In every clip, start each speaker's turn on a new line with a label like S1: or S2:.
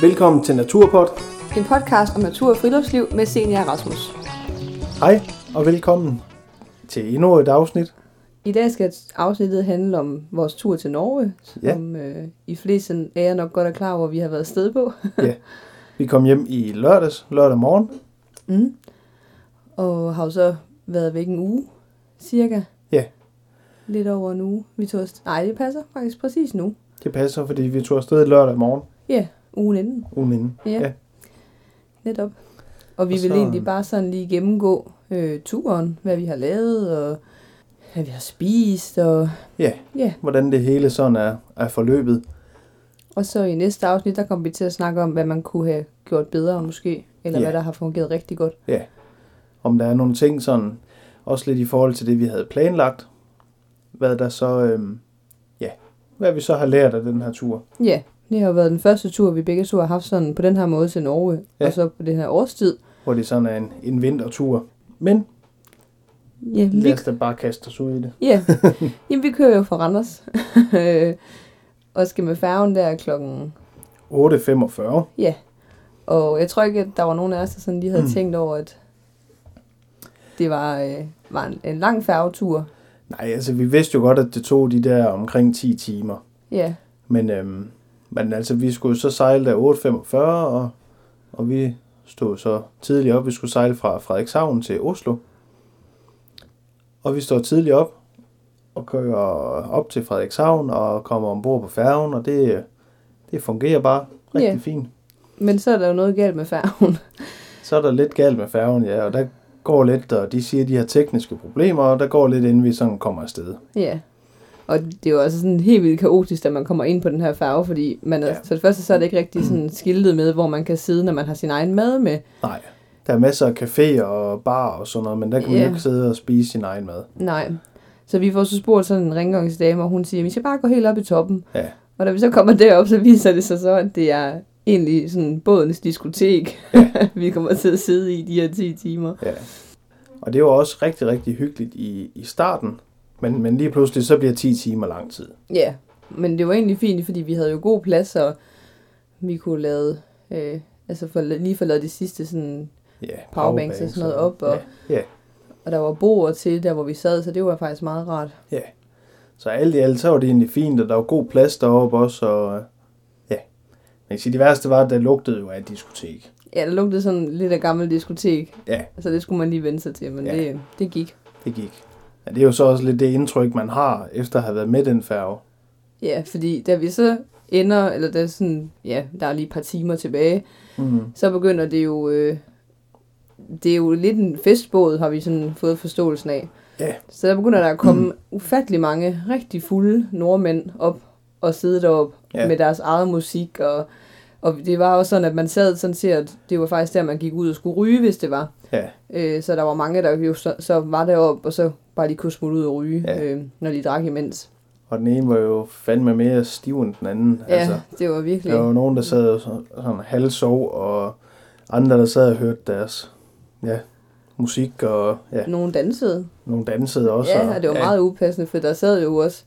S1: Velkommen til Naturpod.
S2: En podcast om natur og friluftsliv med Senior Rasmus.
S1: Hej og velkommen til endnu et afsnit.
S2: I dag skal afsnittet handle om vores tur til Norge,
S1: Ja.
S2: som øh, I fleste af jer nok godt er klar over, at vi har været sted på.
S1: Ja. Vi kom hjem i lørdags, lørdag morgen.
S2: Mm. Og har jo så været væk en uge, cirka.
S1: Ja.
S2: Lidt over en uge. Vi tog afsted. Nej, det passer faktisk præcis nu.
S1: Det passer, fordi vi tog afsted lørdag morgen
S2: Ja, ugen inden.
S1: ugen inden.
S2: Ja.
S1: Ja.
S2: Netop. Og vi
S1: Og
S2: vil
S1: så-
S2: egentlig bare sådan lige gennemgå øh, turen, hvad vi har lavet, og hvad vi har spist, og
S1: Ja,
S2: ja.
S1: hvordan det hele sådan er, er forløbet.
S2: Og så i næste afsnit, der kom vi til at snakke om, hvad man kunne have gjort bedre måske, eller
S1: Ja.
S2: hvad der har fungeret rigtig godt.
S1: Om der er nogle ting sådan, også lidt i forhold til det, vi havde planlagt. Hvad der så, øhm, ja, hvad vi så har lært af den her tur.
S2: Ja, det har jo været den første tur, vi begge to har haft sådan på den her måde til Norge,
S1: Ja.
S2: ja. og så på den her årstid.
S1: Hvor det sådan er en, en vintertur. Men
S2: Ja,
S1: lad
S2: lige,
S1: os da bare kaste os ud i det.
S2: ja. Jamen, vi kører jo fra Randers, Øh, og skal med færgen der klokken
S1: 8.45.
S2: Ja, og jeg tror ikke, at der var nogen af os, der sådan lige havde
S1: Mm.
S2: mm. tænkt over, at det var, øh, var en, en lang færgetur.
S1: Nej, altså vi vidste jo godt, at det tog de der omkring 10 timer.
S2: Ja,
S1: Men, øhm, men altså, vi skulle jo så sejle der 8.45, og, og vi stod så tidligt op. Vi skulle sejle fra Frederikshavn til Oslo. Og vi står tidligt op og kører op til Frederikshavn og kommer ombord på færgen, og det, det fungerer bare rigtig
S2: Ja.
S1: fint.
S2: men så er der jo noget galt med færgen.
S1: Så er der lidt galt med færgen, ja, og der går lidt, og de siger, at de har tekniske problemer, og der går lidt, inden vi sådan kommer afsted.
S2: ja, og det er jo også sådan helt vildt kaotisk, da man kommer ind på den her færge, fordi man er,
S1: Ja.
S2: ja. for det første så er det ikke rigtig sådan skiltet med, hvor man kan sidde, når man har sin egen mad med.
S1: Nej. Der er masser af caféer og bar og sådan noget, men der kan man
S2: Ja.
S1: jo ikke sidde og spise sin egen mad.
S2: Nej. Så vi får så spurgt sådan en rengøringsdame, og hun siger, at vi skal bare gå helt op i toppen.
S1: Ja.
S2: Og da vi så kommer derop, så viser det sig så, at det er egentlig sådan bådens diskotek, ja. vi kommer til at sidde i de her 10 timer.
S1: Ja. Og det var også rigtig, rigtig hyggeligt i, i starten, men, men lige pludselig så bliver 10 timer lang tid.
S2: Ja, men det var egentlig fint, fordi vi havde jo god plads, og vi kunne lave, øh, altså for, lige få lavet de sidste sådan,
S1: Ja,
S2: Powerbanks og sådan noget op, og-
S1: Ja, ja,
S2: og der var bord til der, hvor vi sad, så det var faktisk meget rart.
S1: ja. Så alt i alt, så var det egentlig fint, og der var god plads deroppe også, og øh, ja. Men sige, det værste var, at det lugtede jo af et diskotek.
S2: Ja, der lugtede sådan lidt af gammel diskotek,
S1: Ja,
S2: så det skulle man lige vende sig til, men
S1: Ja.
S2: ja. det, det gik.
S1: det gik. Ja, det er jo så også lidt det indtryk, man har, efter at have været med den færge.
S2: Ja, fordi da vi så ender, eller der er sådan, ja, der er lige et par timer tilbage,
S1: Mm.
S2: så begynder det jo, øh, det er jo lidt en festbåd, har vi sådan fået forståelsen af.
S1: Ja.
S2: Så der begynder der at komme ufattelig mange rigtig fulde nordmænd op og sidde derop
S1: Ja.
S2: ja. med deres eget musik, og, og det var også sådan, at man sad sådan set, at det var faktisk der, man gik ud og skulle ryge, hvis det var.
S1: Ja,
S2: Øh, så der var mange, der jo så, så var deroppe, og så bare lige kunne smutte ud og ryge,
S1: Ja.
S2: ja. øh, når de drak imens.
S1: og den ene var jo fandme mere stiv end den anden.
S2: Ja, altså, det var virkelig...
S1: Der var nogen, der sad og så- sådan halvsov, og andre, der sad og hørte deres ja, musik, og ja,
S2: Nogen dansede.
S1: nogle dansede også.
S2: Ja, og det var meget upassende, for der sad jo også,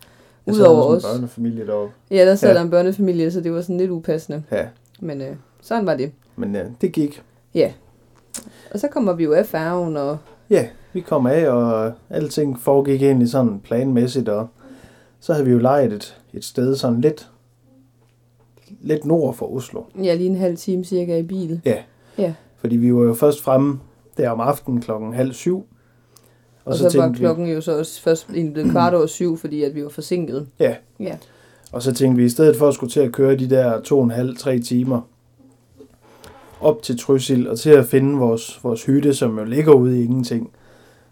S1: Jeg sad
S2: udover
S1: også en
S2: os.
S1: børnefamilie deroppe.
S2: Ja, der sad
S1: Ja.
S2: ja. der en børnefamilie, så det var sådan lidt upassende.
S1: Ja,
S2: Men øh, sådan var det.
S1: men ja, det gik.
S2: Og så kommer vi jo af færgen, og
S1: Ja, vi kom af, og alting foregik egentlig sådan planmæssigt, og så havde vi jo lejet et, et sted sådan lidt, lidt nord for Oslo.
S2: ja, lige en halv time cirka i bil.
S1: Fordi vi var jo først fremme der om aftenen klokken halv syv.
S2: Og, og så, så var klokken jo så også først egentlig blevet kvart over syv, fordi at vi var forsinket.
S1: Ja.
S2: Ja.
S1: Og så tænkte vi, i stedet for at skulle til at køre de der to og en halv, tre timer op til Trysil og til at finde vores, vores hytte, som jo ligger ude i ingenting,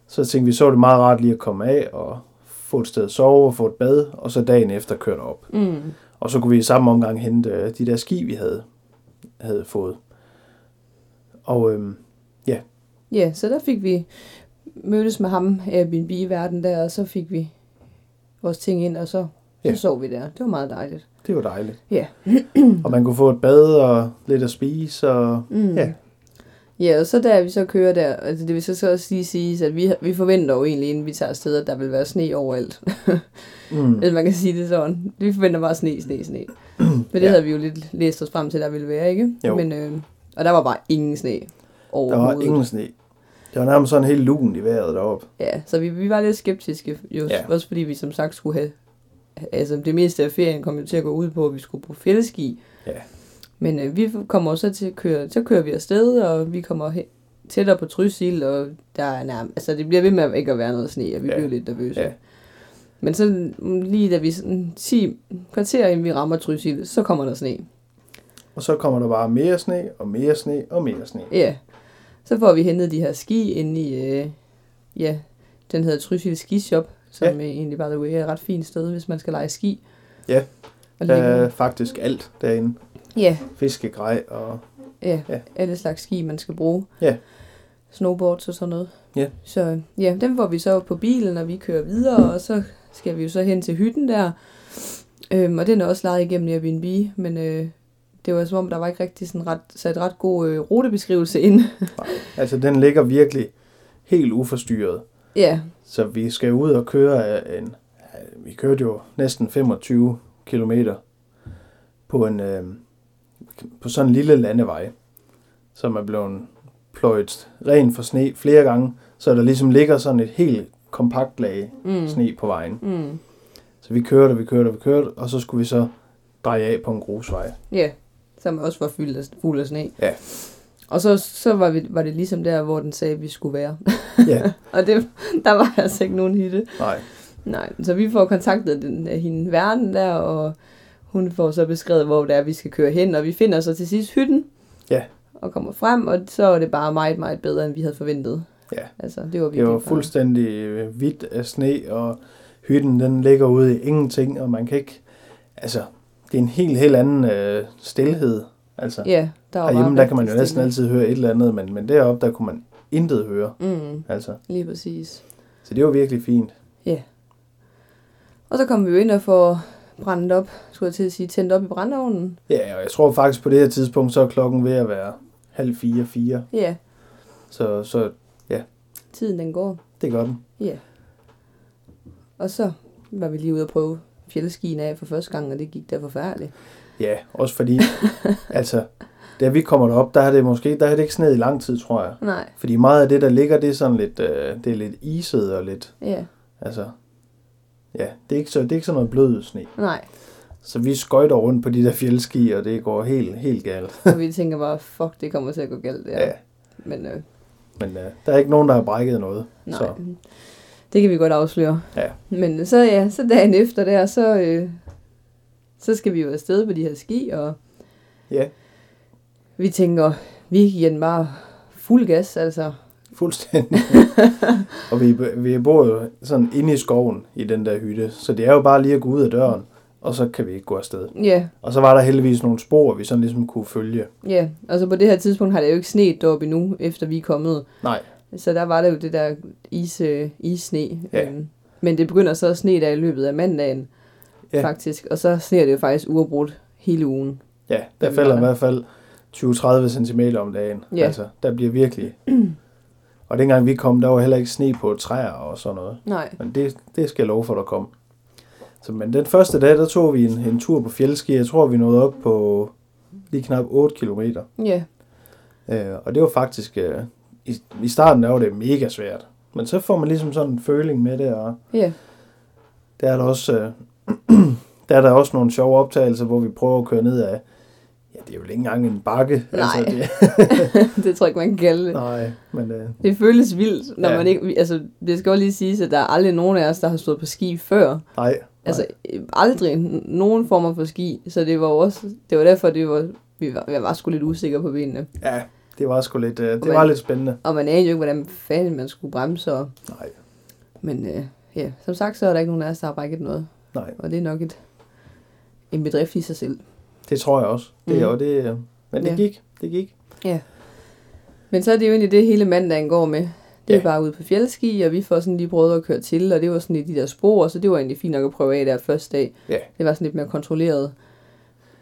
S1: så tænkte vi, så var det meget rart lige at komme af og få et sted at sove og få et bad, og så dagen efter køre op.
S2: Mm.
S1: Og så kunne vi i samme omgang hente øh, de der ski, vi havde, havde fået. Og øhm,
S2: Ja, så der fik vi mødtes med ham, Airbnb-verden der, og så fik vi vores ting ind, og så, så
S1: Ja.
S2: sov vi der. Det var meget dejligt.
S1: det var dejligt.
S2: Ja.
S1: og man kunne få et bad og lidt at spise, og
S2: Mm.
S1: Ja.
S2: Ja, og så da vi så kører der, altså det vil så så også lige sige, at vi, vi forventer jo egentlig, inden vi tager afsted, at der vil være sne overalt.
S1: mm,
S2: Hvis man kan sige det sådan. Vi forventer bare sne, sne, sne. Men det
S1: Ja.
S2: ja. havde vi jo lidt læst os frem til, der ville være, ikke?
S1: Jo.
S2: Men, øh, og der var bare ingen sne
S1: Der var
S2: overhovedet.
S1: ingen sne. Det var nærmest sådan helt lugen i vejret deroppe.
S2: Ja, så vi, vi var lidt skeptiske, jo,
S1: Ja.
S2: ja. også fordi vi som sagt skulle have... Altså, det meste af ferien kom jo til at gå ud på, at vi skulle på fældeski.
S1: Ja.
S2: Men øh, vi kommer så til at køre... Så kører vi afsted, og vi kommer he- tættere på Trysil, og der er nærmest... Altså, det bliver ved med at ikke at være noget sne, og vi
S1: Ja.
S2: ja. bliver lidt nervøse.
S1: Ja.
S2: Ja. Men så mm, lige da vi sådan 10 kvarter, inden vi rammer Trysil, så kommer der sne.
S1: Og så kommer der bare mere sne, og mere sne, og mere sne.
S2: Ja. Så får vi hentet de her ski inde i, øh, ja, den hedder Trysil Ski Shop, som
S1: Ja.
S2: ja. egentlig, by the way, er et ret fint sted, hvis man skal lege ski.
S1: Ja. Øh.
S2: Og
S1: Der
S2: ligge-
S1: er faktisk alt derinde.
S2: ja,
S1: Fiskegrej og...
S2: ja,
S1: Ja.
S2: ja, alle slags ski, man skal bruge.
S1: Ja.
S2: Snowboards og sådan noget.
S1: Ja.
S2: Så øh, ja, dem får vi så på bilen, og vi kører videre, og så skal vi jo så hen til hytten der. Øhm, og den er også lejet igennem Airbnb, men øh, det var som om, der var ikke rigtig sådan ret, sat ret god øh, rutebeskrivelse ind.
S1: Altså, den ligger virkelig helt uforstyrret.
S2: ja,
S1: Så vi skal ud og køre af en... ja, Vi kørte jo næsten 25 kilometer på en øh, på sådan en lille landevej, som er blevet pløjet ren for sne flere gange, så der ligesom ligger sådan et helt kompakt lag
S2: mm,
S1: sne på vejen.
S2: Mm,
S1: Så vi kørte, og vi kørte, og vi kørte, og så skulle vi så dreje af på en grusvej.
S2: ja, som også var fyldt af, fuld af sne.
S1: Ja.
S2: Og så, så var, vi, var det ligesom der, hvor den sagde, at vi skulle være.
S1: Ja,
S2: Og det, der var altså ikke nogen hytte.
S1: nej.
S2: Nej, så vi får kontaktet den, øh, hende verden der, og hun får så beskrevet, hvor det er, vi skal køre hen. Og vi finder så til sidst hytten.
S1: Ja.
S2: Og kommer frem, og så er det bare meget, meget bedre, end vi havde forventet.
S1: Ja.
S2: Altså, det var virkelig
S1: Det var
S2: bare-
S1: fuldstændig øh, hvidt af sne, og hytten den ligger ude i ingenting, og man kan ikke... Altså, det er en helt, helt anden øh, stillhed. Altså,
S2: Ja, der var
S1: herhjemme,
S2: bare
S1: der kan man jo
S2: rigtig
S1: næsten altid
S2: stille.
S1: høre et eller andet, men, men deroppe, der kunne man intet høre.
S2: Mm,
S1: Altså,
S2: lige præcis.
S1: så det var virkelig fint.
S2: Og så kom vi jo ind og får brændt op, skulle jeg til at sige, tændt op i brændeovnen.
S1: Ja, og jeg tror faktisk på det her tidspunkt, så er klokken ved at være halv fire, fire.
S2: Ja,
S1: Så, så
S2: tiden den går.
S1: det gør den.
S2: Ja. Og så var vi lige ude og prøve fjeldskien af for første gang, og det gik da forfærdeligt.
S1: Ja, også fordi, altså, da vi kommer derop, der har det måske, der har det ikke sneet i lang tid, tror jeg.
S2: Nej,
S1: Fordi meget af det, der ligger, det er sådan lidt, øh, det er lidt iset og lidt,
S2: ja,
S1: altså, ja, det er ikke, så, det er ikke sådan noget blød sne.
S2: nej.
S1: Så vi skøjter rundt på de der fjeldski, og det går helt, helt galt.
S2: Og vi tænker bare, fuck, det kommer til at gå galt der.
S1: Ja.
S2: Men øh,
S1: Men øh, der er ikke nogen, der har brækket noget.
S2: nej,
S1: Så.
S2: så. det kan vi godt afsløre.
S1: Ja.
S2: Men øh, så ja, så dagen efter der, så, øh, så skal vi jo afsted på de her ski, og
S1: Ja,
S2: vi tænker, vi gik igen bare fuld gas, altså.
S1: fuldstændig. og vi, vi bor jo sådan inde i skoven i den der hytte, så det er jo bare lige at gå ud af døren, og så kan vi ikke gå afsted.
S2: Ja,
S1: Og så var der heldigvis nogle spor, vi sådan ligesom kunne følge.
S2: ja. Og så på det her tidspunkt har det jo ikke sneet deroppe endnu, efter vi er kommet.
S1: Nej,
S2: Så der var der jo det der is, øh, issne.
S1: Ja.
S2: Ja. Øhm, men det begynder så at sne der i løbet af mandagen,
S1: Ja.
S2: ja. faktisk. Og så sner det jo faktisk uafbrudt hele ugen.
S1: Ja, der
S2: vi
S1: falder
S2: var
S1: i
S2: der.
S1: hvert fald 20-30 cm om dagen.
S2: Ja.
S1: Altså, der bliver virkelig... Og dengang vi kom, der var heller ikke sne på træer og sådan noget.
S2: Nej.
S1: Men det, det skal jeg love for, der kom. Så, men den første dag, der tog vi en, en tur på fjeldski. Jeg tror, vi nåede op på lige knap 8 km.
S2: Ja.
S1: Øh, og det var faktisk... Øh, i, I starten der var det mega svært. Men så får man ligesom sådan en føling med det, og
S2: Ja.
S1: der er der også, øh, der er der også nogle sjove optagelser, hvor vi prøver at køre ned af, ja, det er jo ikke engang en bakke. Altså,
S2: Nej.
S1: det,
S2: det tror jeg ikke, man kan kalde det.
S1: Nej, men øh,
S2: Det føles vildt, når
S1: Ja.
S2: ja. man ikke... Altså, det skal jo lige siges, at der er aldrig nogen af os, der har stået på ski før.
S1: nej.
S2: Altså, øh, aldrig n- nogen former for ski. Så det var jo også... Det var derfor, det var, vi var, jeg var sgu lidt usikker på benene.
S1: nej. Ja, det var sgu lidt, øh, det
S2: Men-
S1: var lidt spændende.
S2: Og man anede jo ikke, hvordan fanden man skulle bremse. Og,
S1: Nej,
S2: men øh, ja, som sagt, så er der ikke nogen af os, der har brækket noget.
S1: nej,
S2: Og det er nok et, en bedrift i sig selv.
S1: det tror jeg også. Det,
S2: Mhm.
S1: og det, øh, men det
S2: Ja.
S1: gik, det gik.
S2: Men så er det jo egentlig det, hele mandagen går med. Det
S1: Ja.
S2: er ja. bare ude på fjeldski, og vi får sådan lige prøvet at køre til, og det var sådan i de der spor, så det var egentlig fint nok at prøve af der første dag.
S1: Ja.
S2: Det var sådan lidt mere kontrolleret.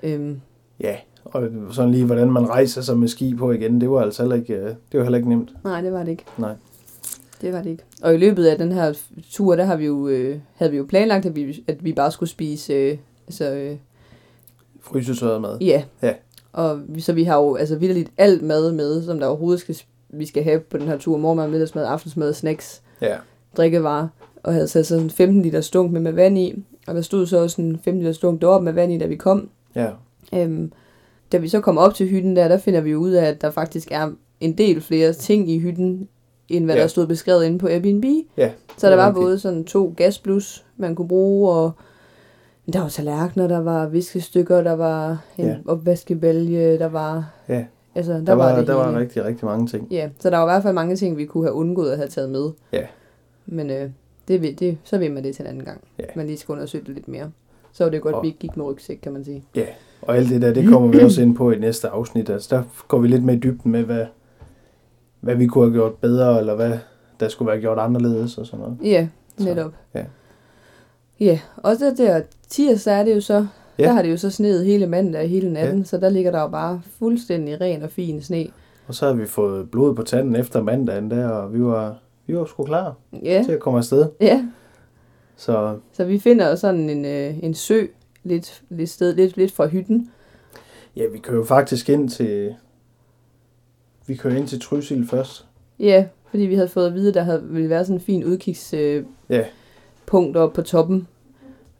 S2: Øhm,
S1: Ja, og sådan lige, hvordan man rejser sig med ski på igen, det var altså heller ikke, øh, det var heller ikke nemt.
S2: nej, det var det ikke.
S1: Nej.
S2: Det var det ikke. Og i løbet af den her tur, der har vi jo, øh, havde vi jo planlagt, at vi, at vi bare skulle spise øh, altså, øh,
S1: frysesøret mad.
S2: Ja.
S1: Ja.
S2: Og vi- så vi har jo altså vidderligt alt mad med, som der overhovedet skal, vi skal have på den her tur. Morgenmad, middagsmad, aftensmad, snacks,
S1: Ja,
S2: drikkevarer. Og havde sat sådan en 15 liter stunk med, med vand i. Og der stod så også en 15 liter stunk deroppe med vand i, da vi kom.
S1: ja,
S2: Øhm, da vi så kommer op til hytten der, der finder vi ud af, at der faktisk er en del flere ting i hytten, end hvad
S1: Ja.
S2: der stod beskrevet inde på Airbnb.
S1: Ja,
S2: Så der
S1: det er
S2: var
S1: rigtigt.
S2: både sådan to gasblus, man kunne bruge, og der var tallerkener, der var viskestykker, der var en
S1: Ja.
S2: ja. opvaskebælge, der var...
S1: ja.
S2: Altså, der,
S1: Der, der var,
S2: var det
S1: der
S2: hele.
S1: var rigtig, rigtig mange ting.
S2: Ja, så der var i hvert fald mange ting, vi kunne have undgået at have taget med.
S1: Ja.
S2: Men øh, det, vil- det, så vil man det til en anden gang.
S1: Ja.
S2: Man lige skal undersøge det lidt mere. Så var det godt,
S1: Og-
S2: vi ikke gik med rygsæk, kan man sige.
S1: Og alt det der, det kommer vi også ind på i næste afsnit. Altså, der går vi lidt mere i dybden med, hvad, hvad vi kunne have gjort bedre, eller hvad der skulle være gjort anderledes og sådan noget.
S2: Ja,
S1: Så,
S2: netop.
S1: ja.
S2: Ja, og så der tirsdag er det jo så,
S1: Ja.
S2: ja. der har det jo så sneet hele mandag og hele natten, ja. så der ligger der jo bare fuldstændig ren og fin sne.
S1: Og så havde vi fået blod på tanden efter mandagen der, og vi var, vi var sgu klar
S2: Ja,
S1: til at komme afsted.
S2: ja.
S1: Så
S2: så vi finder jo sådan en, øh, en sø lidt, lidt, sted, lidt, lidt fra hytten.
S1: ja, vi kører jo faktisk ind til... Vi kører ind til Trysil først.
S2: Ja, fordi vi havde fået at vide, at der havde, ville være sådan en fin udkigspunkt øh,
S1: Ja.
S2: punkt oppe på toppen.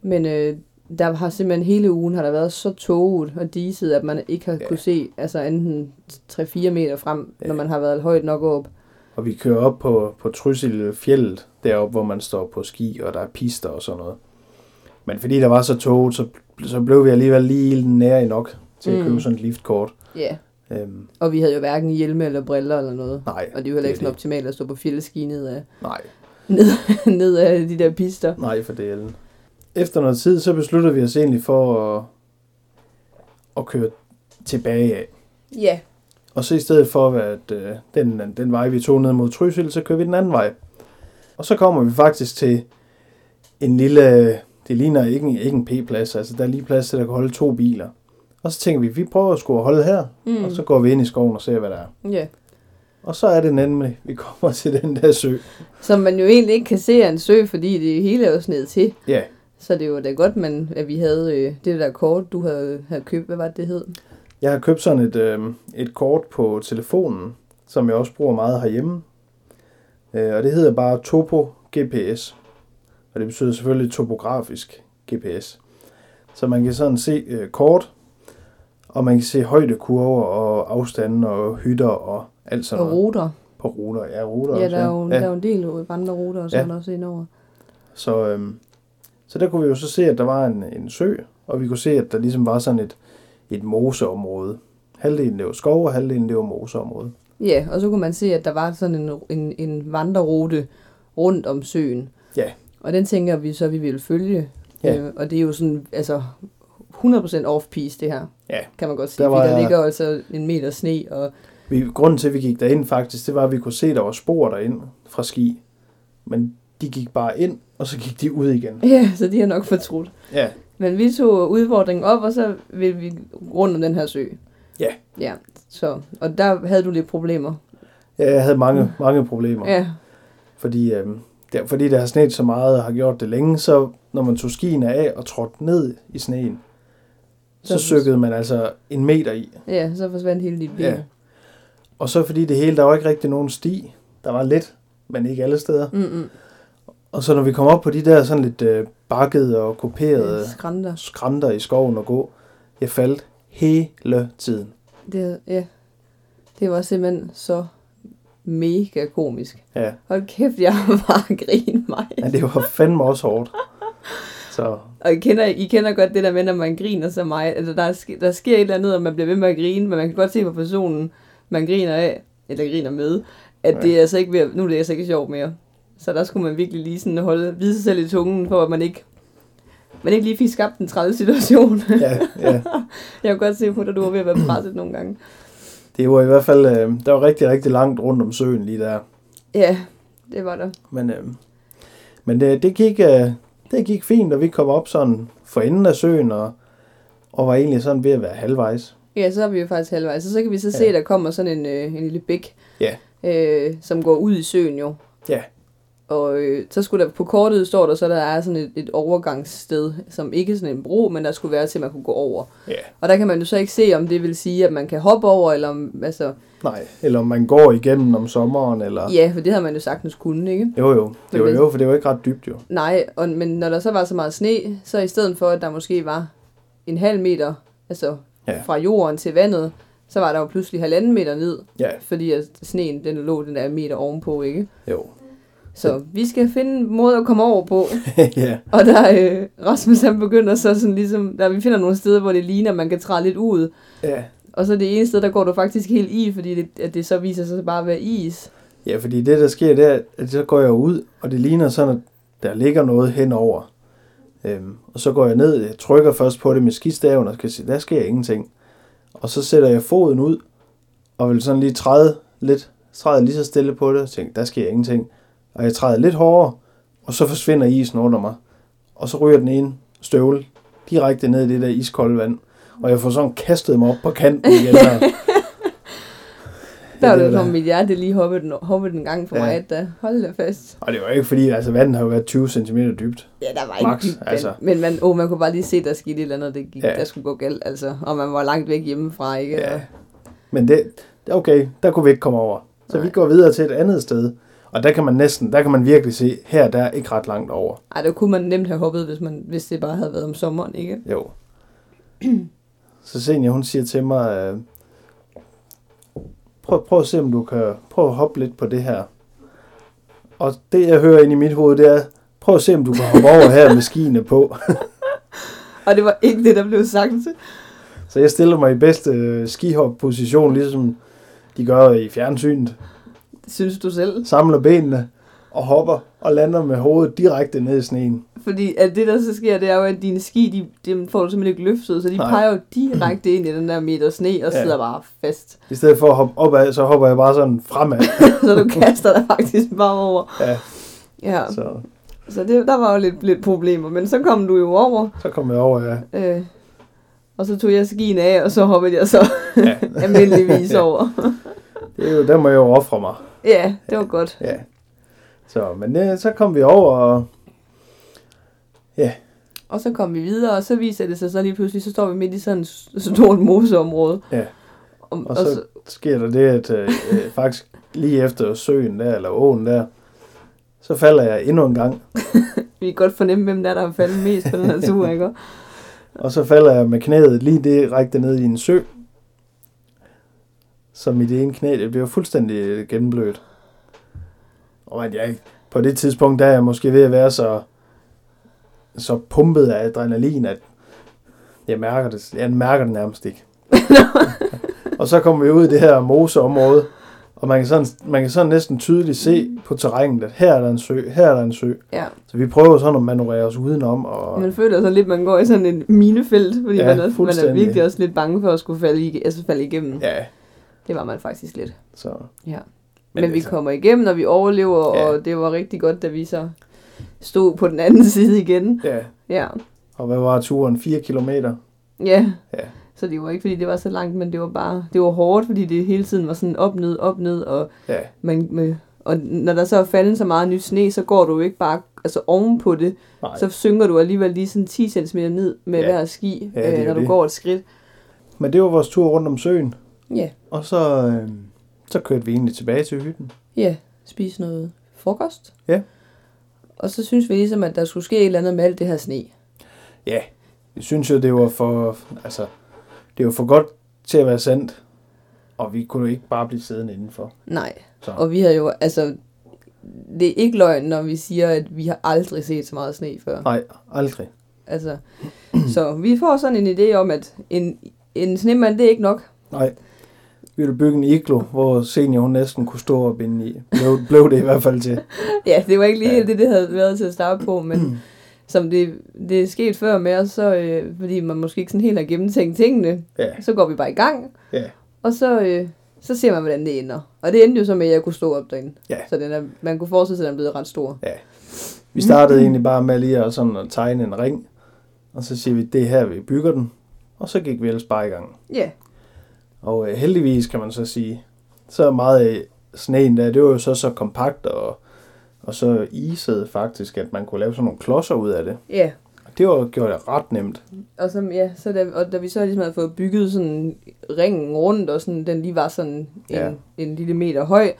S2: Men øh, der har simpelthen hele ugen har der været så tåget og diset, at man ikke har
S1: Ja.
S2: ja. kunne se altså enten 3-4 meter frem,
S1: Ja.
S2: ja. når man har været højt nok op.
S1: Og vi kører op på, på Trysil fjellet, deroppe hvor man står på ski, og der er pister og sådan noget. Men fordi der var så tåget, så, så blev vi alligevel lige nære nok til at
S2: Mm.
S1: købe sådan et liftkort.
S2: Ja,
S1: Øhm,
S2: og vi havde jo hverken hjelme eller briller eller noget.
S1: nej,
S2: Og det er jo heller ikke
S1: det er
S2: sådan optimalt at stå på fjeldeski ned af,
S1: nej,
S2: ned, ned af de der pister.
S1: nej for delen. Efter noget tid, så beslutter vi os egentlig for at, at køre tilbage af.
S2: Ja,
S1: Og så i stedet for, at øh, den, den vej, vi tog ned mod Trysil, så kører vi den anden vej. Og så kommer vi faktisk til en lille... Det ligner ikke en, ikke en P-plads, altså der er lige plads til, at der kan holde to biler. Og så tænker vi, vi prøver at skulle holde her, mm. og så går vi ind i skoven og ser, hvad der er.
S2: ja.
S1: Og så er det nemlig, vi kommer til den der sø.
S2: Som man jo egentlig ikke kan se er en sø, fordi det hele er jo snedet til.
S1: Ja,
S2: Så det var da godt, man, at vi havde øh, det der kort, du havde, havde købt. Hvad var det, det hed?
S1: jeg har købt sådan et, øh, et kort på telefonen, som jeg også bruger meget herhjemme. Øh, og det hedder bare Topo GPS. Og det betyder selvfølgelig topografisk GPS. Så man kan sådan se øh, kort, og man kan se højdekurver og afstanden og hytter og alt sådan
S2: Og
S1: noget.
S2: ruter.
S1: På ruter. Ja, ruter
S2: Ja,
S1: også,
S2: der er jo,
S1: ja.
S2: der er jo en del vandreruter og sådan ja. også indover.
S1: Så, øhm, så der kunne vi jo så se, at der var en, en sø, og vi kunne se, at der ligesom var sådan et, et moseområde. Halvdelen det var skov, og halvdelen det var moseområde.
S2: Ja, og så kunne man se, at der var sådan en, en, en vandrerute rundt om søen.
S1: Ja.
S2: Og den tænker vi så, at vi ville følge.
S1: Ja.
S2: Øh, og det er jo sådan, altså 100% off-piece det her,
S1: Ja.
S2: kan man godt sige.
S1: Der
S2: Der,
S1: var-
S2: var... der ligger jo altså en meter sne, og
S1: Vi, grunden til, at vi gik derind faktisk, det var, at vi kunne se, at der var spor derind fra ski. Men de gik bare ind, og så gik de ud igen.
S2: ja, så de har nok fortrudt.
S1: Ja,
S2: Men vi tog udfordringen op, og så ville vi rundt om den her sø.
S1: Ja.
S2: Ja, så, og der havde du lidt problemer.
S1: ja jeg havde mange, mange problemer.
S2: Ja,
S1: Fordi, øhm, der, fordi det har sneet så meget og har gjort det længe, så når man tog skiene af og trådte ned i sneen, så
S2: Så-
S1: søkkede man altså en meter i.
S2: ja, så forsvandt hele dit ben.
S1: Ja. Og så fordi det hele, der var ikke rigtig nogen sti. Der var lidt, men ikke alle steder.
S2: Mm-mm.
S1: Og så når vi kom op på de der sådan lidt øh, bakkede og kuperede
S2: Ja, Skrænter.
S1: skrænter i skoven og gå, jeg faldt hele tiden.
S2: Det, ja. det var simpelthen så mega komisk.
S1: Ja,
S2: Hold kæft, jeg har bare grinet mig.
S1: men det var fandme også hårdt. Så
S2: Og I kender, I kender godt det der med, når man griner så meget. Altså, der, er ske- der sker et eller andet, og man bliver ved med at grine, men man kan godt se på personen, man griner af, eller griner med, at det er altså ikke ved, at- nu er det altså ikke sjovt mere. Så der skulle man virkelig lige sådan holde, vide sig selv i tungen, for at man ikke, man ikke lige fik skabt en træls situation.
S1: ja, ja.
S2: jeg kan godt se på dig, du var ved at være presset nogle gange.
S1: det var i hvert fald, øh, der var rigtig, rigtig langt rundt om søen lige der.
S2: Ja, det var der.
S1: Men, øh, men det, det, gik, øh, det gik fint, og vi kom op sådan for enden af søen, og, og var egentlig sådan ved at være halvvejs.
S2: Ja, så er vi jo faktisk halvvejs. Og så kan vi så se,
S1: Ja.
S2: ja. der kommer sådan en, øh, en lille bæk,
S1: Ja.
S2: øh, som går ud i søen jo.
S1: Ja.
S2: Og øh, så skulle der på kortet står der så, der er sådan et, et overgangssted, som ikke er sådan en bro, men der skulle være til, at man kunne gå over.
S1: Ja,
S2: Og der kan man jo så ikke se, om det vil sige, at man kan hoppe over, eller om, altså,
S1: nej. Eller om man går igennem om sommeren, eller...
S2: ja, for det havde man jo sagtens kunne, ikke?
S1: Jo, jo. Det var
S2: hvis-
S1: jo, for det var ikke ret dybt, jo.
S2: Nej, og, men når der så var så meget sne, så i stedet for, at der måske var en halv meter, altså
S1: Ja.
S2: ja. fra jorden til vandet, så var der jo pludselig halvanden meter ned,
S1: Ja,
S2: fordi at sneen den lå den der meter ovenpå, ikke?
S1: jo.
S2: Så vi skal finde en måde at komme over på.
S1: ja,
S2: Og der øh, Rasmus han begynder så sådan ligesom, der vi finder nogle steder, hvor det ligner, man kan træde lidt ud.
S1: ja.
S2: Og så det ene sted, der går du faktisk helt i, fordi det, at det så viser sig bare at være is.
S1: Ja, fordi det, der sker, det er, at så går jeg ud, og det ligner sådan, at der ligger noget henover. Øhm, og så går jeg ned, jeg trykker først på det med skistaven, og skal se, der sker ingenting. Og så sætter jeg foden ud, og vil sådan lige træde lidt, træde lige så stille på det, og tænker, der sker ingenting. Og jeg træder lidt hårdere, og så forsvinder isen under mig. Og så ryger den ene støvle direkte ned i det der iskolde vand. Og jeg får sådan kastet mig op på kanten igen. Og...
S2: Der
S1: Ja,
S2: var
S1: det
S2: det
S1: var-
S2: som mit hjerte lige hoppede, den- hoppede en gang for
S1: Ja.
S2: ja. mig, at da, hold da fast.
S1: Og det var ikke fordi, altså vandet har jo været 20 cm dybt.
S2: Ja, der var
S1: Max,
S2: ikke dybt,
S1: altså.
S2: altså. men man, åh, man kunne bare lige se, der skete et eller andet, det gik,
S1: Ja.
S2: ja. der skulle gå galt, altså. Og man var langt væk hjemmefra, ikke?
S1: Ja.
S2: Og-
S1: Men det, okay, der kunne vi ikke komme over. Så Nej. vi
S2: Nej.
S1: går videre til et andet sted. Og der kan man næsten, der kan man virkelig se, her der er ikke ret langt over.
S2: Ej, der kunne man nemt have hoppet, hvis, man, hvis det bare havde været om sommeren, ikke?
S1: Jo. Så Senja, hun siger til mig, øh, prøv, prøv at se, om du kan prøv at hoppe lidt på det her. Og det, jeg hører ind i mit hoved, det er, prøv at se, om du kan hoppe over her med skiene på.
S2: Og det var ikke det, der blev sagt.
S1: Så jeg stiller mig i bedste øh, skihop-position, ligesom de gør i fjernsynet.
S2: Synes du selv?
S1: samler benene og hopper og lander med hovedet direkte ned i sneen.
S2: Fordi at det, der så sker, det er jo, at dine ski, de, dem får du simpelthen ikke løftet, så de
S1: Nej.
S2: Nej. peger jo direkte ind i den der meter sne, og
S1: Ja.
S2: ja. sidder bare fast.
S1: I stedet for at hoppe opad, så hopper jeg bare sådan fremad.
S2: så du kaster dig faktisk bare over.
S1: Ja,
S2: Ja, så,
S1: så,
S2: så det, der var jo lidt, lidt problemer, men så kom du jo over,
S1: så kom jeg over, ja.
S2: øh, og så tog jeg skien af, og så hoppede jeg så
S1: ja.
S2: almindeligvis over.
S1: Det er jo, der må jeg jo ofre mig.
S2: Ja, det var godt.
S1: Ja. Så, men øh, så kom vi over, og
S2: Og så kom vi videre, og så viser det sig så lige pludselig, så står vi midt i sådan et s- stort moseområde.
S1: Ja.
S2: Og, og,
S1: Og
S2: og
S1: så-
S2: så, så,
S1: sker der det, at øh, øh, faktisk lige efter søen der, eller åen der, så falder jeg endnu en gang.
S2: vi kan godt fornemme, hvem der er, der har faldet mest på den her tur, ikke?
S1: Og så falder jeg med knæet lige direkte ned i en sø. Så mit ene knæ, det bliver fuldstændig gennemblødt. Og at jeg, på det tidspunkt, der er jeg måske ved at være så, så pumpet af adrenalin, at jeg mærker det, jeg mærker det nærmest ikke. og så kommer vi ud i det her moseområde, og man kan, sådan, man kan sådan næsten tydeligt se på terrænet, at her er der en sø, her er der en sø.
S2: Ja.
S1: Så vi prøver sådan at manøvrere os udenom. Og,
S2: Man føler sig lidt, man går i sådan en minefelt, fordi
S1: Ja,
S2: ja, man, er, man er
S1: fuldstændig.
S2: virkelig også lidt bange for at skulle falde, i, altså falde igennem. Ja.
S1: ja,
S2: Det var man faktisk lidt.
S1: så
S2: Ja.
S1: Men
S2: Men, Men vi
S1: altså-
S2: kommer igennem, og vi overlever,
S1: Ja.
S2: ja. og det var rigtig godt, da vi så stod på den anden side igen.
S1: ja.
S2: Ja.
S1: Og hvad var turen? 4 kilometer?
S2: Ja.
S1: Ja.
S2: Så det var ikke, fordi det var så langt, men det var bare, det var hårdt, fordi det hele tiden var sådan op, ned, op, ned, og
S1: Ja,
S2: man, med, og når der så er faldet så meget nyt sne, så går du jo ikke bare altså ovenpå det,
S1: nej.
S2: så synker du alligevel lige sådan 10 cm ned med
S1: Ja.
S2: ja. hver ski,
S1: Ja, det er
S2: øh, når
S1: jo
S2: du
S1: det.
S2: går et skridt.
S1: Men det var vores tur rundt om søen,
S2: Ja,
S1: og så, øh, så kørte vi egentlig tilbage til hytten.
S2: ja, spise noget frokost.
S1: Ja.
S2: Og så synes vi ligesom, at der skulle ske et eller andet med alt det her sne.
S1: Ja, jeg synes jo, det var for, altså, det var for godt til at være sandt, og vi kunne jo ikke bare blive siddende indenfor.
S2: Nej,
S1: Så,
S2: og vi har jo, altså, det er ikke løgn, når vi siger, at vi har aldrig set så meget sne før.
S1: Nej, aldrig.
S2: Altså, så vi får sådan en idé om, at en, en snemand, det er ikke nok.
S1: Nej. Vi ville bygge en iglo, hvor senior hun næsten kunne stå og binde i. Blev, blev det i hvert fald til.
S2: Ja, det var ikke lige
S1: Ja.
S2: helt det, det havde været til at starte på, men som det, det er sket før med os, så, øh, fordi man måske ikke sådan helt har gennemtænkt tingene,
S1: Ja,
S2: så går vi bare i gang,
S1: ja,
S2: og så, øh, så ser man, hvordan det ender. Og det endte jo så med, at jeg kunne stå op derinde.
S1: Ja.
S2: Så den er, man kunne forestille sig, at den blev ret stor.
S1: ja. Vi startede egentlig bare med lige at, sådan, at tegne en ring, og så siger vi, det er her, vi bygger den. Og så gik vi ellers bare i gang.
S2: Ja,
S1: Og øh, heldigvis kan man så sige, så meget af sneen der, det var jo så så kompakt og, Og så isede faktisk, at man kunne lave sådan nogle klodser ud af det.
S2: Ja,
S1: Og Det var, gjorde det ret nemt.
S2: og, så, ja, så da, og da vi så ligesom havde fået bygget sådan ringen rundt, og sådan, den lige var sådan en,
S1: Ja.
S2: ja. en lille meter høj,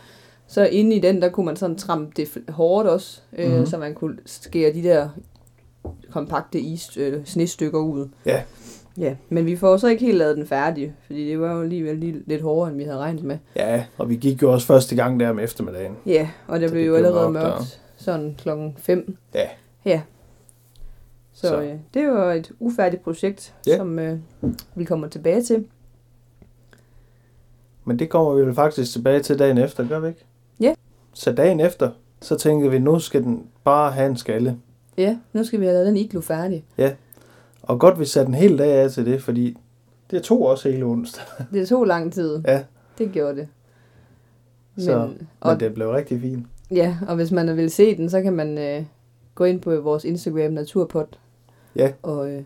S2: så inde i den, der kunne man sådan trampe det f- hårdt også, øh,
S1: Mhm.
S2: mm-hmm. så man kunne skære de der kompakte is, øh, snestykker ud.
S1: Ja.
S2: Ja, men vi får så ikke helt lavet den færdig, fordi det var jo alligevel lige lidt hårdere, end vi havde regnet med.
S1: Ja, og vi gik jo også første gang der om eftermiddagen.
S2: Ja, og det
S1: Så
S2: blev
S1: det
S2: jo
S1: blev
S2: allerede
S1: mørkt,
S2: mørkt, sådan klokken 5.
S1: Ja.
S2: Ja. Så,
S1: Så.
S2: så. Øh, det var et ufærdigt projekt,
S1: Ja.
S2: ja. som øh, vi kommer tilbage til.
S1: Men det kommer vi vel faktisk tilbage til dagen efter, gør vi ikke?
S2: Ja.
S1: Så dagen efter, så tænkte vi, nu skal den bare have en skalle.
S2: Ja, nu skal vi have lavet den iglo færdig.
S1: Og godt, vi satte en hel dag af til det, fordi det tog også hele onsdag.
S2: Det tog lang tid.
S1: Ja.
S2: Det gjorde det. Men,
S1: Så,
S2: og,
S1: Men det blev rigtig fint.
S2: Ja, og hvis man vil se den, så kan man øh, gå ind på vores Instagram, Naturpod.
S1: Ja.
S2: Og øh,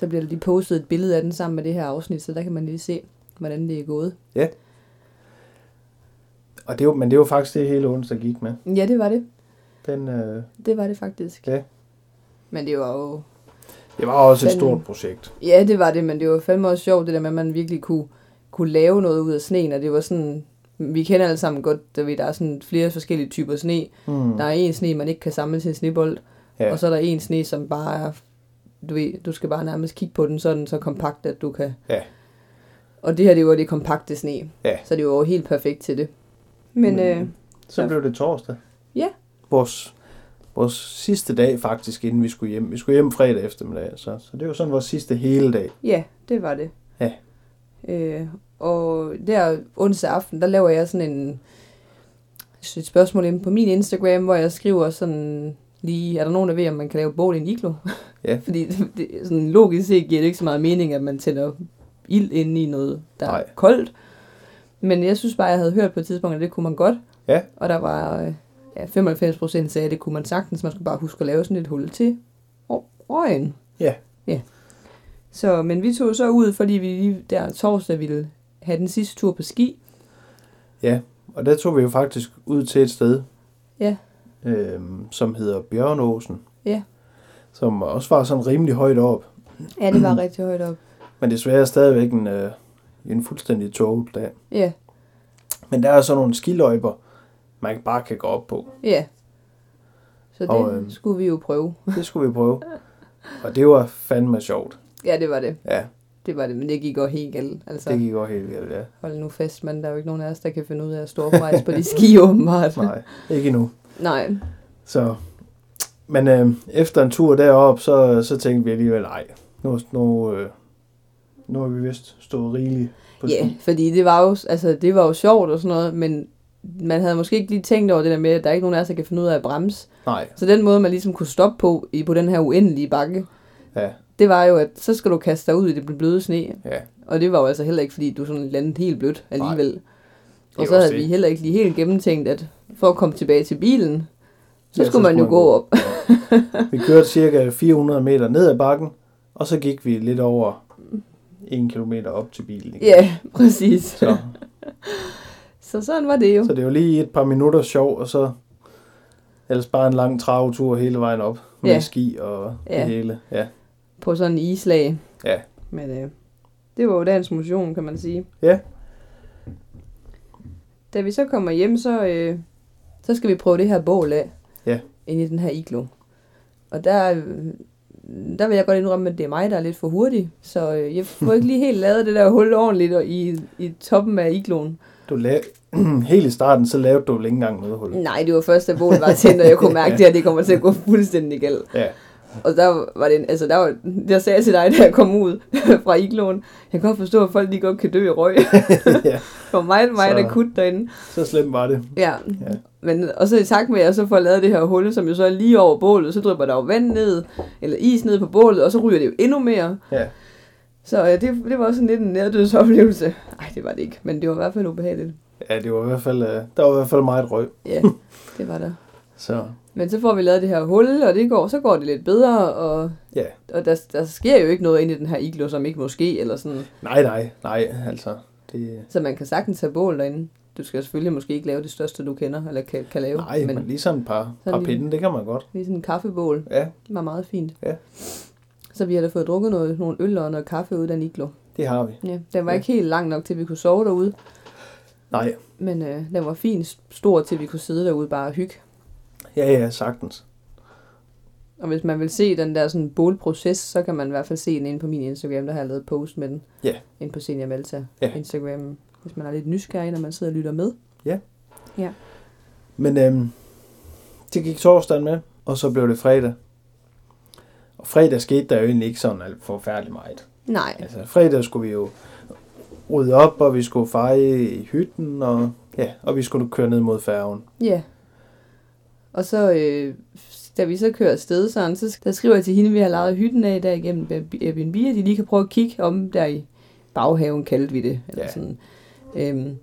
S2: så bliver der lige postet et billede af den sammen med det her afsnit, så der kan man lige se, hvordan det er gået.
S1: Og det var, men det var faktisk det, hele onsdag gik med.
S2: Ja, det var det.
S1: Den, øh,
S2: Det var det faktisk.
S1: Ja.
S2: Men det var jo...
S1: det var også et
S2: Den-
S1: stort projekt.
S2: Ja, det var det, men det var fandme også sjovt, det der med, at man virkelig kunne, kunne lave noget ud af sneen, og det var sådan... Vi kender alle sammen godt, der, der er sådan flere forskellige typer sne.
S1: Mm.
S2: Der er en sne, man ikke kan samle til en snebold,
S1: Ja.
S2: ja. og så er der en sne, som bare er... Du, ved, du skal bare nærmest kigge på den sådan så kompakt, at du kan...
S1: Ja.
S2: Og det her, det var det kompakte sne,
S1: Ja.
S2: så det var jo helt perfekt til det. Men
S1: Men-
S2: øh,
S1: Så
S2: Ja.
S1: blev det torsdag.
S2: Ja.
S1: Vores, vores sidste dag faktisk, inden vi skulle hjem. Vi skulle hjem fredag eftermiddag, så, så det var sådan vores sidste hele dag.
S2: Ja, det var det.
S1: Ja.
S2: Øh, og der onsdag aften, der laver jeg sådan en, et spørgsmål inde på min Instagram, hvor jeg skriver sådan lige, er der nogen, der ved, om man kan lave bål i en iglo?
S1: Ja.
S2: Fordi det, det, sådan logisk set giver det ikke så meget mening, at man tænder ild inde i noget, der
S1: Nej.
S2: er koldt. Men jeg synes bare, jeg havde hørt på et tidspunkt, at det kunne man godt.
S1: Ja.
S2: Og der var øh, ja, 95 procent sagde, at det kunne man sagtens. Man skulle bare huske at lave sådan et hul til rå- røgen.
S1: Ja.
S2: Ja. Så, men vi tog så ud, fordi vi lige der torsdag ville have den sidste tur på ski.
S1: Og der tog vi jo faktisk ud til et sted,
S2: Ja.
S1: øhm, som hedder Bjørnåsen.
S2: Ja.
S1: Som også var sådan rimelig højt op.
S2: Ja, det var rigtig højt op.
S1: Men desværre stadigvæk en, øh, en fuldstændig tåget dag.
S2: Ja,
S1: Men der er sådan nogle skiløjper, man bare kan gå op på.
S2: ja. Så det
S1: Og, øhm,
S2: skulle vi jo prøve.
S1: Det skulle vi prøve. Og det var fandme sjovt.
S2: Ja, det var det.
S1: Ja,
S2: Det var det, men det gik også helt galt. Altså,
S1: det gik også helt galt, ja.
S2: hold nu fast, men der er jo ikke nogen af os, der kan finde ud af at stå oprejse på de ski, åbenbart.
S1: Nej, ikke endnu.
S2: Nej.
S1: Så, men øh, efter en tur derop, så, så tænkte vi alligevel, nej, nu, nu, øh, nu har vi vist stået rigeligt på
S2: Ja,
S1: ski.
S2: yeah, fordi det var, jo, altså, det var jo sjovt og sådan noget, men man havde måske ikke lige tænkt over det der med, at der er ikke nogen af os, der kan finde ud af at bremse.
S1: Nej,
S2: Så den måde, man ligesom kunne stoppe på i på den her uendelige bakke,
S1: ja,
S2: det var jo, at så skal du kaste dig ud i det bløde sne.
S1: ja.
S2: Og det var jo altså heller ikke, fordi du sådan landede helt blødt alligevel.
S1: er
S2: og
S1: også
S2: så havde
S1: det.
S2: vi heller ikke lige helt gennemtænkt, at for at komme tilbage til bilen, så
S1: Ja,
S2: ja, skulle man jo gå op.
S1: Vi kørte cirka 400 meter ned ad bakken, og så gik vi lidt over en kilometer op til bilen. igen.
S2: Ja, præcis.
S1: Så,
S2: Så sådan var det jo.
S1: så det var lige et par minutter sjov, og så ellers bare en lang travetur hele vejen op med
S2: Ja.
S1: ski og
S2: Ja.
S1: det hele. Ja.
S2: På sådan en islag.
S1: Ja.
S2: Men øh, det var jo dagens motion, kan man sige.
S1: Ja.
S2: Da vi så kommer hjem, så, øh, så skal vi prøve det her bål af.
S1: Ja.
S2: Inde i den her iglo. Og der, øh, der vil jeg godt indrømme, at det er mig, der er lidt for hurtig. Så øh, jeg får ikke lige helt lavet det der hul ordentligt og i, i toppen af igloen.
S1: Du la- Helt i starten, så lavede du vel ikke engang noget hul.
S2: Nej, det var først, da bålet var tændt, og jeg kunne mærke, at det her det kommer til at gå fuldstændig galt.
S1: Ja,
S2: Og der var det, en- altså der var, jeg sagde til dig, da jeg kom ud fra igloen, jeg kan godt forstå, at folk lige godt kan dø i røg.
S1: ja.
S2: Det var meget, meget
S1: Så-
S2: så... akut derinde.
S1: Så slemt var det.
S2: Ja.
S1: Ja.
S2: ja. Men, og så i takt med, at jeg så får lavet det her hul, som jo så er lige over bålet, så drypper der jo vand ned, eller is ned på bålet, og så ryger det jo endnu mere.
S1: Ja.
S2: Så øh, det, det var også sådan lidt en nærdødsoplevelse. Nej, det var det ikke, men det var i hvert fald ubehageligt.
S1: ja, det var i hvert fald, øh, der var i hvert fald meget røg.
S2: Ja, det var der.
S1: Så
S2: Men så får vi lavet det her hul, og det går, så går det lidt bedre, og,
S1: ja,
S2: og der, der sker jo ikke noget inde i den her iglo, som ikke må ske, eller sådan.
S1: nej, nej, nej, altså. Det,
S2: Så man kan sagtens have bål derinde. Du skal selvfølgelig måske ikke lave det største, du kender, eller kan, kan lave.
S1: Nej, men, men ligesom et par, par
S2: lige-
S1: pinde, det kan man godt.
S2: Lige sådan en kaffebål.
S1: Ja,
S2: Det var meget fint.
S1: Ja.
S2: Så vi har da fået drukket noget, nogle øl og noget kaffe ud af den iglo.
S1: det har vi.
S2: Ja, den var
S1: Ja.
S2: ikke helt lang nok, til vi kunne sove derude.
S1: Nej,
S2: Men øh, den var fin stor, til vi kunne sidde derude bare og hygge.
S1: ja, ja, sagtens.
S2: Og hvis man vil se den der sådan bålproces, så kan man i hvert fald se den inde på min Instagram, der har jeg lavet post med den.
S1: Ja.
S2: Inde på Senior Malta
S1: Ja.
S2: Instagram, hvis man er lidt nysgerrig, når man sidder og lytter med.
S1: Men øhm, det gik torsdagen med, og så blev det fredag. Og fredag skete der jo egentlig ikke sådan alt forfærdeligt meget.
S2: Nej,
S1: Altså fredag skulle vi jo rydde op, og vi skulle feje i hytten, og, ja, og vi skulle køre ned mod færgen.
S2: Ja. Og så, øh, da vi så kører afsted, sådan, så der skriver jeg til hende, vi har lejet hytten af i dag igennem Airbnb, at de lige kan prøve at kigge om der i baghaven, kaldte vi det. Eller
S1: Ja.
S2: ja. sådan. Øhm,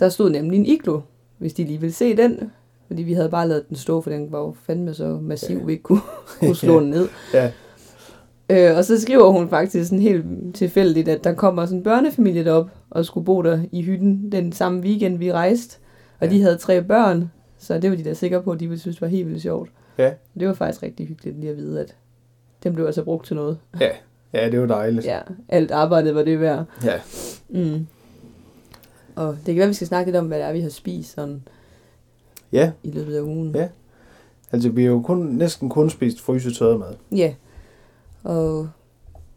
S2: der stod nemlig en iglo, hvis de lige ville se den. Fordi vi havde bare lavet den stå, for den var jo fandme så massiv,
S1: Ja.
S2: ja. vi ikke kunne, kunne slå den ned.
S1: Ja,
S2: Øh, og så skriver hun faktisk sådan helt tilfældigt, at der kommer sådan en børnefamilie derop og skulle bo der i hytten den samme weekend, vi rejste. Og
S1: Ja.
S2: ja. de havde tre børn, så det var de da sikre på, at de ville synes var helt vildt sjovt.
S1: Ja.
S2: Det var faktisk rigtig hyggeligt lige at vide, at den blev altså brugt til noget.
S1: ja det var dejligt.
S2: Ja, alt arbejdet var det værd.
S1: Ja.
S2: Mm. Og det kan være, vi skal snakke lidt om, hvad det er, vi har spist sådan
S1: ja,
S2: i løbet af ugen.
S1: Ja. altså vi har jo kun, næsten kun spist frysetørret mad.
S2: Ja. Og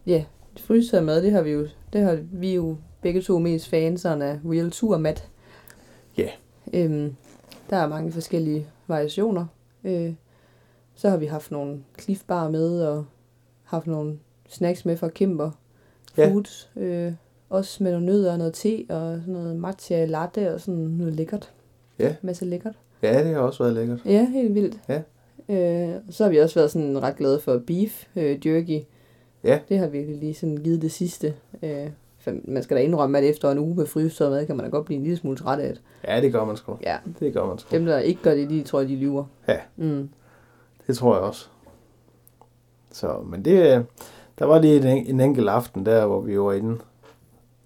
S2: ja, fryser mad, det har vi jo, det har vi jo begge to mest fanserne af real tour mad.
S1: Ja.
S2: Øhm, der er mange forskellige variationer. Øh, så har vi haft nogle cliffbar med, og haft nogle snacks med fra Kimber
S1: Ja.
S2: Foods. Øh, også med nogle nødder og noget te, og sådan noget matcha latte, og sådan noget lækkert.
S1: Ja.
S2: Masse lækkert.
S1: Ja, det har også været lækkert.
S2: Ja, helt vildt.
S1: Ja.
S2: Øh, så har vi også været sådan ret glade for beef øh, jerky.
S1: Ja.
S2: Det har vi lige sådan givet det sidste. Øh, for man skal da indrømme, at efter en uge med fryset mad, kan man da godt blive en lille smule træt af det.
S1: Ja, det gør man sgu.
S2: Ja.
S1: Det gør man sgu.
S2: Dem, der ikke gør det, de tror, de lyver.
S1: Ja.
S2: Mm.
S1: Det tror jeg også. Så, men det, øh, der var lige en, en enkelt aften der, hvor vi var inde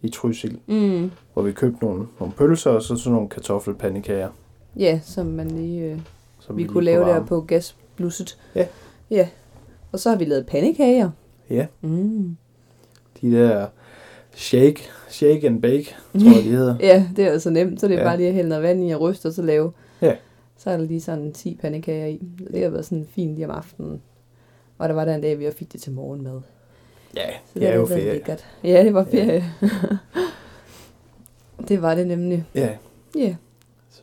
S1: i Trysil,
S2: Mm.
S1: hvor vi købte nogle, nogle pølser og så sådan nogle kartoffelpandekager.
S2: Ja, som man lige, øh,
S1: Som
S2: vi
S1: lige
S2: kunne lave der
S1: varme.
S2: på gasblusset.
S1: Ja.
S2: Ja. Og så har vi lavet pandekager.
S1: Ja,
S2: Mm.
S1: de der shake, shake and bake, tror jeg de hedder.
S2: Ja, det er altså nemt, så det er
S1: Ja.
S2: ja. bare lige at hælde noget vand i og ryste og så lave.
S1: Ja.
S2: Så er der lige sådan 10 pandekager i. Så det har været sådan fint lige om aftenen. Og der var der en dag, vi også fik det til morgenmad.
S1: Ja,
S2: Så
S1: det er
S2: har
S1: jo
S2: været
S1: ferie.
S2: lækkert. Ja, det var
S1: Ja.
S2: ferie. det var det nemlig.
S1: Ja,
S2: Ja, yeah.
S1: så.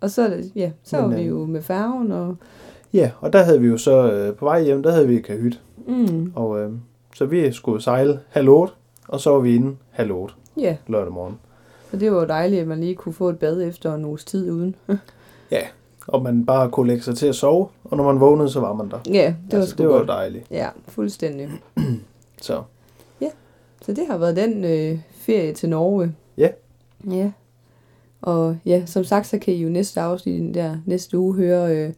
S2: og så, er det- ja, så
S1: Men,
S2: var vi
S1: øh,
S2: jo med færgen og...
S1: ja, og der havde vi jo så, øh, på vej hjem, der havde vi kahyt.
S2: Mm,
S1: Og øh, så vi skulle sejle halv otte, og så var vi inde halv otte
S2: ja,
S1: lørdag morgen.
S2: og det var jo dejligt, at man lige kunne få et bad efter en uges tid uden.
S1: Og man bare kunne lægge sig til at sove, og når man vågnede, så var man der.
S2: Ja, det var
S1: altså,
S2: sgu
S1: det var jo
S2: godt.
S1: dejligt.
S2: Ja, fuldstændig.
S1: Så
S2: Så det har været den øh, ferie til Norge.
S1: Ja.
S2: Ja. Og ja, som sagt, så kan I jo næste afsnit i den der næste uge høre øh,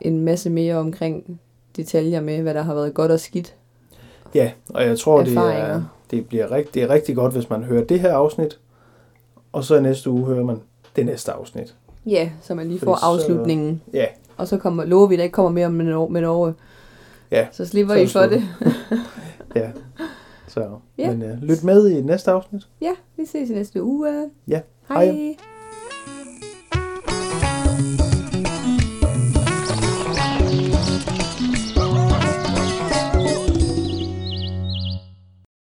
S2: en masse mere omkring detaljer med, hvad der har været godt og skidt.
S1: ja, og jeg tror, det, er,
S2: Erfaringer.
S1: det bliver rigtig, det er rigtig godt, hvis man hører det her afsnit, og så i næste uge hører man det næste afsnit.
S2: Ja, så man lige
S1: Fordi
S2: får
S1: så-
S2: afslutningen.
S1: Ja,
S2: Og så kommer, lover vi, at der ikke kommer mere om Nor- med Norge.
S1: Ja,
S2: Så slipper
S1: så er
S2: I
S1: det
S2: for det.
S1: ja. Så,
S2: Ja.
S1: men øh, lyt med i næste afsnit.
S2: Ja, vi ses i næste uge.
S1: Ja,
S2: Hej.
S1: hej.
S2: Hej.